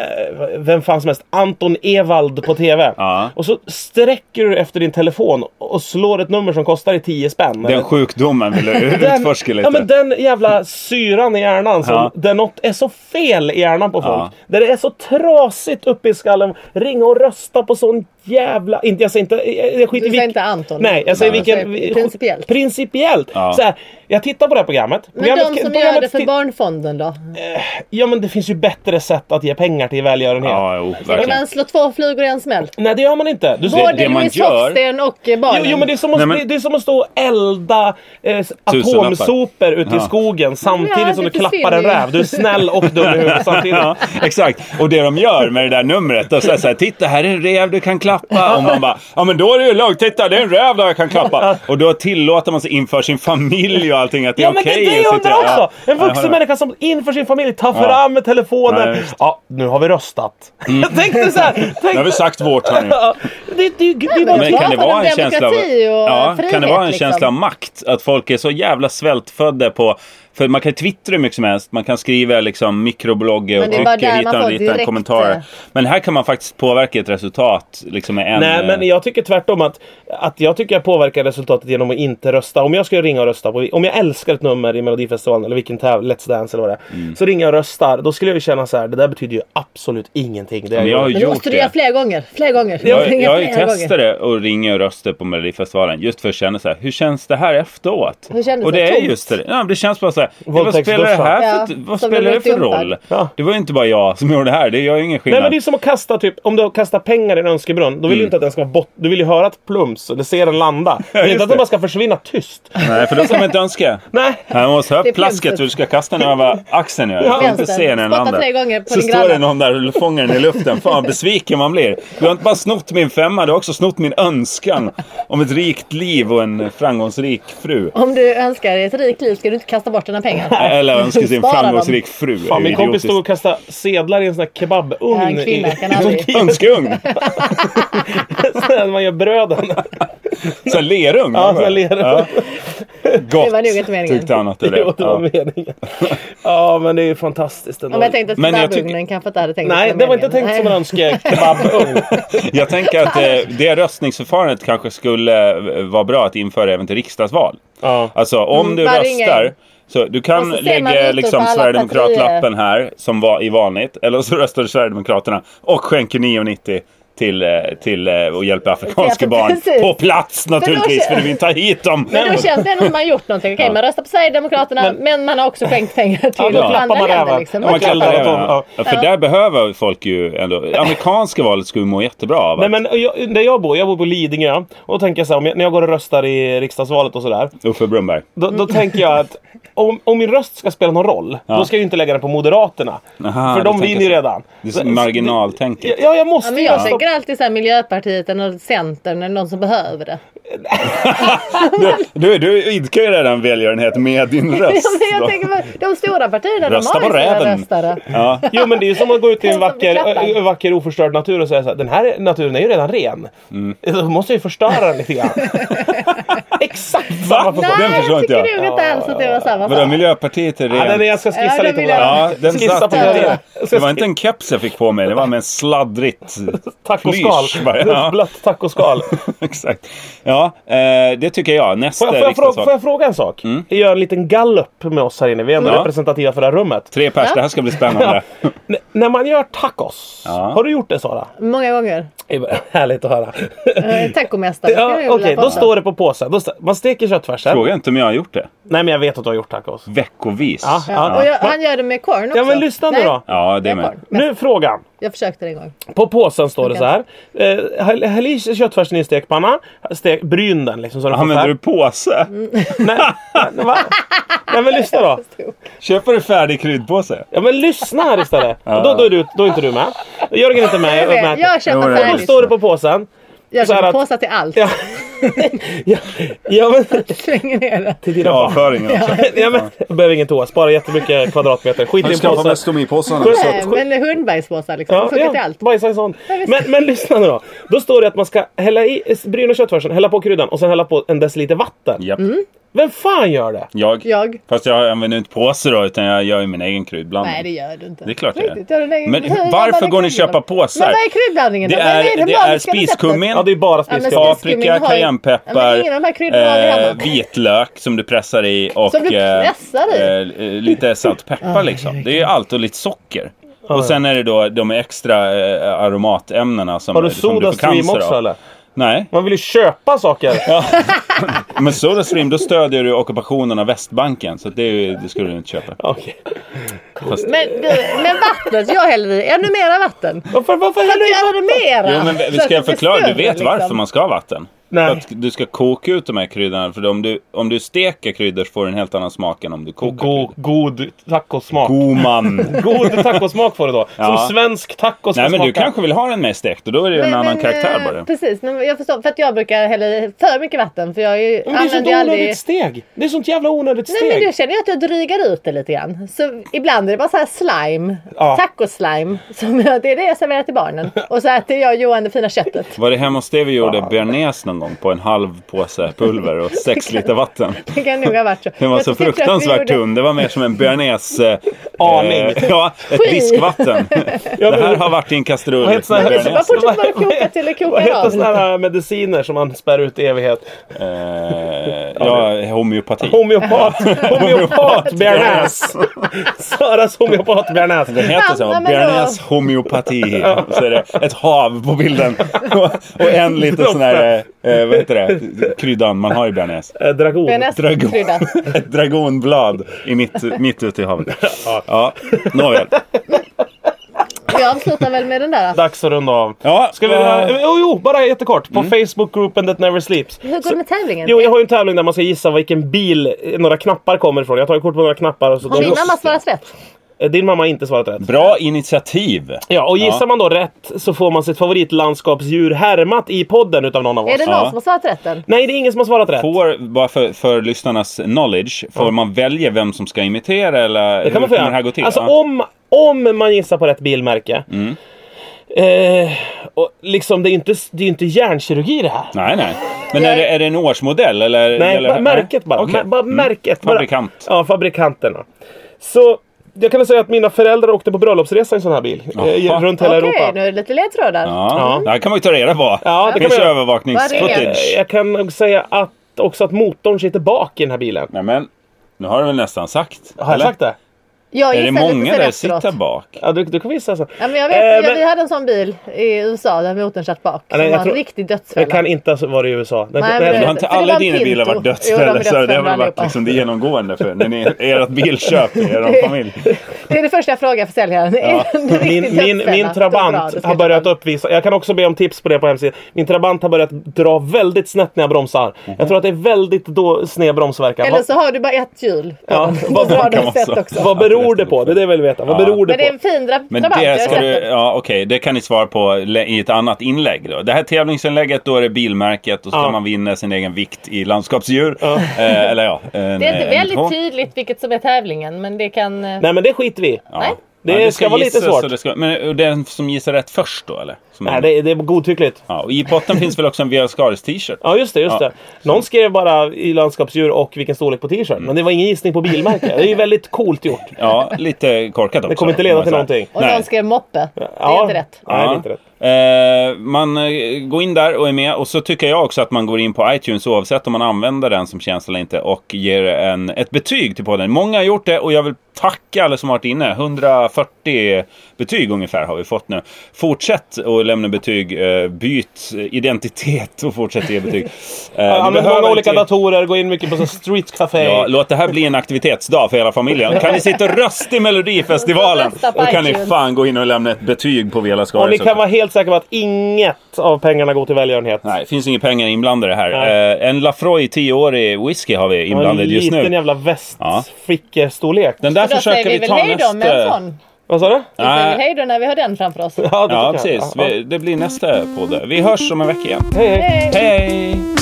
vem fan som helst, Anton Ewald på TV.
Ja.
Och så sträcker du efter din telefon och slår ett nummer som kostar i 10 spänn.
Den sjukdomen vill du
Den-
utforska lite.
Ja, men den jävla syran i hjärnan. Som,
Ja.
Där något är så fel i hjärnan på folk.
Ja.
Där det är så trasigt uppe i skallen. Ringa och rösta på sån jävla... Inte, jag säger inte... Jag, jag
Du
skiter i
säger
vilk-
inte Anton.
Nej, jag säger
Nej.
vilken...
Du säger principiellt.
Principiellt.
Ja.
Så här, jag tittar på det här programmet.
Men de som gör det för
ti-
Barnfonden då?
Ja, men det finns ju bättre sätt att ge pengar till välgörenhet.
Ja, jo,
Kan
verkligen.
man slå två flugor i en smäll?
Nej, det gör man inte. Du ser,
Både-
Både
man
Louise
gör-
Hofsten och eh, barnen.
Jo, jo men det är som att,
Nej, men-
det- det är som att stå och elda eh, s-
Tusenlappar.
atomsopor ute i
Ja.
skogen samtidigt
Ja,
som
det
du klappar en
försvinner ju.
räv. Du är snäll och dum i huvudet samtidigt.
Ja, exakt. Och det de gör med det där numret, de säger så här, titta här är en räv du kan klappa. Och man bara, ja men då är det ju lugnt, titta det är en räv där jag kan klappa. Och då tillåter man sig inför sin familj och allting att det är
Ja men
okej.
det är det
att
jag
sitta-
undrar också!
Ja.
En vuxen människa som inför sin familj tar fram
Ja,
telefonen. Ja,
visst. Mm.
nu har vi röstat. Jag tänkte så här. Tänk,
Nu har vi sagt vårt här nu.
Ja, det, det, det, det,
men-
Men kan det
pratar om
vara en känsla av,
demokrati och
ja,
frihet,
kan det vara en
liksom?
känsla av makt? Att folk är så jävla svältfödda på... För man kan twittra hur mycket som helst, man kan skriva liksom mikrobloggar och
Men det är bara
tycker
där
hit
man
och
får
dit
direkt,
och kommentarer.
eh,
Men här kan man faktiskt påverka ett resultat liksom med en...
Nej men
eh,
jag tycker tvärtom att, att jag tycker jag påverkar resultatet genom att inte rösta. Om jag skulle ringa och rösta, på, om jag älskar ett nummer i Melodifestivalen eller vilken tävling, Let's Dance eller vad det är.
Mm.
Så ringer jag och röstar, då skulle jag ju känna så här, det där betyder ju absolut ingenting. Det jag
men jag har
gör.
Men
ju
det
gjort
måste du göra
det.
flera gånger. Flera gånger.
Jag,
Ringa
jag har ju
flera gånger.
testat det och ringa och rösta på Melodifestivalen just för att känna så här, hur känns det här efteråt?
Hur kändes
och det
det?
är
Tomt?
just det. Ja, det känns bara så här, ja, vad
Våldtäktsduschar.
spelar det här för,
Ja,
vad
som
spelar
blev
det för
dumpad.
roll?
Ja.
Det var ju inte bara jag som gjorde det här, det gör ju ingen
Nej
skillnad.
men det är som att kasta typ, om du kastar pengar i en önskebrunn, då vill du
Mm.
inte att den ska vara bort, du vill ju höra ett plums eller se den landa. Det är
just
inte att
det.
den bara ska försvinna tyst.
Nej, för då ska man inte önska.
Nej.
Man måste höra
Det är
plasket
plumset.
hur du ska kasta den över axeln. Ja. Du får inte
Vänster.
se när den
Spotta
landar.
tre gånger på
så
din
står
granne.
det någon där och fångar den i luften. Fan vad besviken man blir. Du har inte bara snott min femma, du har också snott min önskan om ett rikt liv och en framgångsrik fru.
Om du önskar dig ett rikt liv ska du inte kasta bort dina pengar.
Eller önskar sig en
Spara dem.
framgångsrik fru. Det är
Fan,
ju
min kompis stod
idiotiskt.
och kastade sedlar i en sån här kebabugn.
Ja, en kvinna
i-
kan aldrig.
Önskeugn!
När man gör bröden.
Sån lerugn.
Ja,
va?
sån här lerugn.
Gott,
Det var nog inte meningen.
tyckte han att det
Jo,
lät.
det var
Ja.
meningen. Ja, men det är ju fantastiskt ändå.
Om jag tänkte att
Men jag
kebabugnen kanske inte hade tänkt
Nej,
den
det var inte
meningen.
tänkt som en
Nej.
önskekebabugn.
Jag tänker att eh, det röstningsförfarandet kanske skulle eh, vara bra att införa även till riksdagsval.
ja.
Alltså om
Mm,
du
bara ringa
röstar.
in.
Så du
Och
kan
så ser man
lägga
rutor på
liksom
alla
Sverigedemokratlappen här som var i vanligt. Eller så röstar du Sverigedemokraterna och skänker 9,90 till, eh, till eh, och hjälper afrikanska
Ja,
barn.
precis.
På plats naturligtvis
kän-
för du vill inte ha hit dem.
Men då känns det ändå som man har gjort någonting. Okej, man röstar på Sverigedemokraterna men, man har också skänkt pengar till
då klappar
andra
man
länder.
räven.
Liksom.
Ja, man kan
klappar dem.
ja.
Ja.
För där behöver folk ju ändå... Amerikanska valet skulle må jättebra av.
Nej,
att
men jag, där jag bor, jag bor på Lidingö. Och då tänker jag så här, om jag, när jag går och röstar i riksdagsvalet och sådär.
Uffe Brunnberg.
Då,
Mm.
då tänker jag att om, om min röst ska spela någon roll, då ska jag ju inte lägga den på Moderaterna.
Aha,
för
du
de
tänker
vinner ju
så.
redan.
Det är så marginaltänket.
Ja, jag måste
Ja,
ju
men jag
rösta-
tänker alltid så här Miljöpartiet eller Centern eller någon som behöver det.
Du, du idkar ju redan välgörenhet med din röst.
Ja, men
då.
jag tänker, på- de stora partierna
Rösta
de har
på
ju sina
räven.
röstare.
Ja.
Jo men det är ju som att gå ut i en
Som beklappar.
vacker, ö- vacker oförstörd natur och säga så här, den här naturen är ju redan ren.
Mm.
Då måste jag ju förstöra den lite grann. Exakt samma funktion.
Den
Nej,
förstår
jag
inte
tycker
jag.
du inte alls att det var samma
Vadå,
sak.
Miljöpartiet är
Ja, den är,
rent...
jag ska skissa
Ja, den
lite på
vill
den.
jag-
Ja, den
Skissa
satt
på
ju.
teorier. Jag
Det
ska
var inte en keps jag fick på mig, det var med en sladdrigt
Tacoskal.
plysch bara. Ja,
Blött tacoskal.
exakt. Ja, Ja, eh, det tycker jag. Nästa
Får jag, får, jag fråga,
riksdagsval.
får jag fråga en sak? Gör en liten gallup med oss här inne. Vi är ändå
Mm. Ja.
representativa för det här rummet.
Tre pers, det här ska bli spännande.
N- när man gör tacos.
Ja.
Har du gjort det Sara?
Många gånger.
Härligt att höra.
Mm.
Eh, Tacomästare skulle jag
ja,
vilja
Okej, då
påstå.
står det på påsen. Då står, man steker köttfärsen.
Fråga Mm. inte om jag har gjort det.
Nej men jag vet att du har gjort tacos.
Veckovis.
Ja, ja.
Ja. Och jag, han gör det med korn också.
Ja men lyssna nu
Nej,
då.
Ja, det
Med
med.
korn.
Nu frågan.
Jag försökte det en gång.
På påsen står det så här.
Funkar
Eh, häll- häll i köttfärsen i en stekpanna. Stek, bryn den liksom så den
Använder du
färg.
påse?
Mm. Nej, nej, va? nej men lyssna då.
Köper du färdig kryddpåse?
Ja men lyssna här istället. Och då, då, är du, då är inte du med. Jörgen är inte med.
Jag,
Jag är
vet,
med.
jag
Jo, det
köper
är
Då
det.
färdigt.
står det på påsen.
Jag
så här
köper
att-
påsar till allt.
Ja, ja, ja men...
Slänger ner det.
Till dina barn.
Avföringen också.
Ja, men, jag behöver ingen toa, spara jättemycket kvadratmeter. Skit i en påse.
stomipåsarna.
Skönt.
Nej,
Skit-
Eh, men hundbergspåsar liksom.
Ja,
Funkar till
ja,
allt.
bajsa i sån.
Ja, visst.
Men, men lyssna nu då. Då står det att man ska hälla i bryna köttfärsen, hälla på kryddan och sen hälla på en deciliter vatten.
Japp.
Vem fan gör det?
Jag.
Jag.
Fast jag använder inte påse då, utan jag gör ju min egen kryddblandning.
Nej det gör du inte.
Det är klart jag
jag
gör. Men
Hur gör
varför
man
går ni
kryddor?
köpa påsar?
Men vad är kryddblandningen
Det
då? Vad
är, det är
magiska receptet?
spiskummin,
Ja, det är bara
Ja, men
spiskummin.
spiskummin
paprika,
har ju- Ja,
cayennepeppar,
men ingen av de här kryddorna har vi hemma.
vitlök som du pressar i och
Som du
eh,
pressar i?
eh, eh, lite salt och peppar liksom. Det är ju allt och lite socker. Och sen är det då de extra eh, aromatämnena som,
Har du
som du får
Sodastream
cancer
också
av.
eller?
Nej,
Man vill ju köpa saker.
men Sodastream då stödjer du ockupationen av Västbanken. Så det, är ju- det skulle du inte köpa.
Okej.
Men, du, men vattnet, jag häller i ännu mera vatten.
Varför,
För
varför
att
häller du i
göra det mera.
Jo, men
Så
vi
att
ska jag
det blir
förklara? Du
större,
vet
liksom.
varför man ska ha vatten.
Nej.
För att du ska koka ut de här kryddorna. För om du, om du steker kryddor så får du en helt annan smak än om du kokar.
Go, god tacosmak.
God man!
God tacosmak får du då. Som
Ja.
svensk taco ska
Nej men du
smaka.
kanske vill ha den mer stekt och då är det ju en
Men-
annan
men,
karaktär
eh,
bara.
Precis, men jag förstår. För att jag brukar hälla i för mycket vatten. För jag är ju,
Men det är sånt
använder ju
onödigt
aldrig...
steg. Det är sånt jävla onödigt steg.
Nej men då känner jag att jag drygar ut det lite grann. Så ibland är det bara så här slime.
Ja.
Tacoslime. Som jag, det är det jag serverar till barnen. Och så äter jag och Johan det fina köttet.
Var det hemma hos dig vi gjorde bearnaise någon gång på en halv påse pulver och sex liter vatten?
Det kan nog ha varit så.
Den var
Jag
så
tycker att vi
fruktansvärt
gjorde-
tunn. Det var mer som en bearnaise... eh,
Aning.
eh, ja, ett
Skit.
diskvatten.
Ja,
Det
men-
här har varit i en kastrull.
Vad heter såna
med
här-
Bara
bearnaise.
fortsätt bara koka till det
Vad
kokar
heter
av.
såna här mediciner som man spär ut i evighet?
Eh, ja, homeopati.
Homeopat! Homeopat bearnaise! Saras homeopat
Den
bearnaise.
heter så.
Ja, men då-
Bearnaise homeopati. Och så är det ett hav på bilden. Och, och en liten sån här, eh, vad heter det, kryddan man har i bearnaise.
Eh, Dragon.
Det är nästan
Dragon.
krydda.
Ett dragonblad i mitt, mitt ute i havet. Ja, nåväl.
Vi avslutar väl med den där. alltså.
Dags att runda av.
Ja, Mm.
Ska vi...
eh,
Jo, jo, bara jättekort. På Facebookgruppen That Never Sleeps.
Hur går det med tävlingen?
Jo, jag har ju en tävling där man ska gissa vilken bil eh, några knappar kommer ifrån. Jag tar ju kort på några knappar. Och så
Har min mamma
Just det.
svarat rätt?
Eh, Din mamma har inte svarat rätt.
Bra initiativ.
Ja, och gissar
Ja.
man då rätt så får man sitt favoritlandskapsdjur härmat i podden utav någon av oss.
Är det någon
Ja.
som har svarat rätt än?
Nej, det är ingen som har svarat rätt.
Får, bara för, för lyssnarnas knowledge, får man välja vem som ska imitera eller
Det kan
hur
man få
kommer
göra.
det här gå till?
Alltså
Ja. Mm.
om, om man gissar på rätt bilmärke. Eh, och liksom, det är ju inte, det är ju inte hjärnkirurgi det här.
Nej, nej. Men är det, är det en årsmodell eller?
Nej,
eller,
bara märket bara.
Okej. Mm.
Ma- bara märket. Bara.
Fabrikant.
Ja, fabrikanterna. Så jag kan väl säga att mina föräldrar åkte på bröllopsresa i en sån här bil. Eh,
Jaha.
runt hela
Okej,
Europa.
nu är det lite ledtrådar.
Ja.
Ja.
det här kan man ju ta reda på.
Ja,
det
det kan
finns
man
ju
göra.
Vad är
övervakningsfootage.
Eh, Jag kan nog säga att också att motorn sitter bak i den här bilen.
Nej, men nu har du väl nästan sagt?
Har jag
eller?
sagt det?
Jag
Är det
gissar lite
många
sen
där
efteråt. Eh,
sitter bak?
Ja, du, du kan visa så.
Ja, men jag
Eh,
vet, ja,
men-
vi hade en sån bil i USA där motorn satt bak.
nej,
som
jag
var en
tror-
riktig
Det
dödsfälla.
kan inte ha varit i USA.
Nej,
Den-
men
den-
det-
Men har inte
För var
alla
en
dina bilar
Pinto.
varit
Jo, de
dödsfällor?
är
Så det har
dödsfällor
väl varit
allihopa.
liksom det genomgående för när ni, ert bilköp i er familj?
Det är det första jag frågar försäljaren. Ja.
Min, min, min Trabant har börjat uppvisa, jag kan också be om tips på det på hemsidan. Min Trabant har börjat dra väldigt snett när jag bromsar.
Mhm.
Jag tror att det är väldigt då sned bromsverkan.
Eller så har du bara ett hjul.
Ja,
På
vad,
bra
kan man
sätt
säga?
också.
vad beror det på? Det är det jag vill veta. Vad
Ja.
beror det
Men det är
på?
en fin dra-
Men
Trabant. jag har
det ska
sett
du,
den.
ja okej, det kan ni svara på le- i ett annat inlägg då. Det här tävlingsinlägget, då är det bilmärket och så
Ja.
ska man vinna sin egen vikt i landskapsdjur. Eh, eller ja, en,
Det är inte
en
väldigt
två.
tydligt vilket som är tävlingen men det kan... eh,
Nej men det skiter vi i.
Ja.
Nej.
Det ska vara lite
gissas
svårt.
och Det ska, men och den som gissar rätt först då eller? Som
Nej, det, är- det är godtyckligt.
ja, och I potten finns väl också en VL Skaris t-shirt?
Ja just det, just
Ja.
det. Någon skrev bara i landskapsdjur och vilken storlek på t-shirt. Men det var ingen gissning på bilmärke. Det är ju väldigt coolt gjort.
Ja, lite korkat också.
Det kommer inte leda
om man
till
säger.
någonting.
Och
Nej.
någon skrev moppe. Det är
Ja.
inte rätt.
Nej, det är
Ja.
inte rätt.
Eh, man eh, går in där och är med. Och så tycker jag också att man går in på iTunes oavsett om man använder den som tjänst eller inte och ger en, ett betyg till podden. Många har gjort det och jag vill tacka alla som har varit inne. 140 betyg ungefär har vi fått nu. Fortsätt att lämna betyg. eh, Byt identitet och fortsätt ge betyg. Eh, ni
Ja, Använd
behöver
många olika
inte-
datorer, gå in mycket på så street café.
Ja, låt det här bli en aktivitetsdag för hela familjen. Kan ni sitta och rösta i Melodifestivalen?
Rösta på
Då kan ni
iTunes.
fan gå in och lämna ett betyg på Vela Skara.
och ni kan vara helt säkra på att inget av pengarna går till välgörenhet.
Nej, det finns inga pengar inblandade här.
Nej.
Eh, en Lafroy 10-årig whisky har vi
Och
inblandad
en
just
liten
nu.
jävla
Ja.
västfickestorlek.
Den där
Och då säger
försöker
vi
vi
väl
ta
hej då
nästa...
med en sån.
Vad sa du?
Vi säger
Nej.
hej då när vi har den framför oss.
Ja, det
Ja,
tycker jag.
precis.
Ja, ja.
Vi, det blir nästa podd. Vi hörs om en vecka igen.
Hej, hej.
Hej!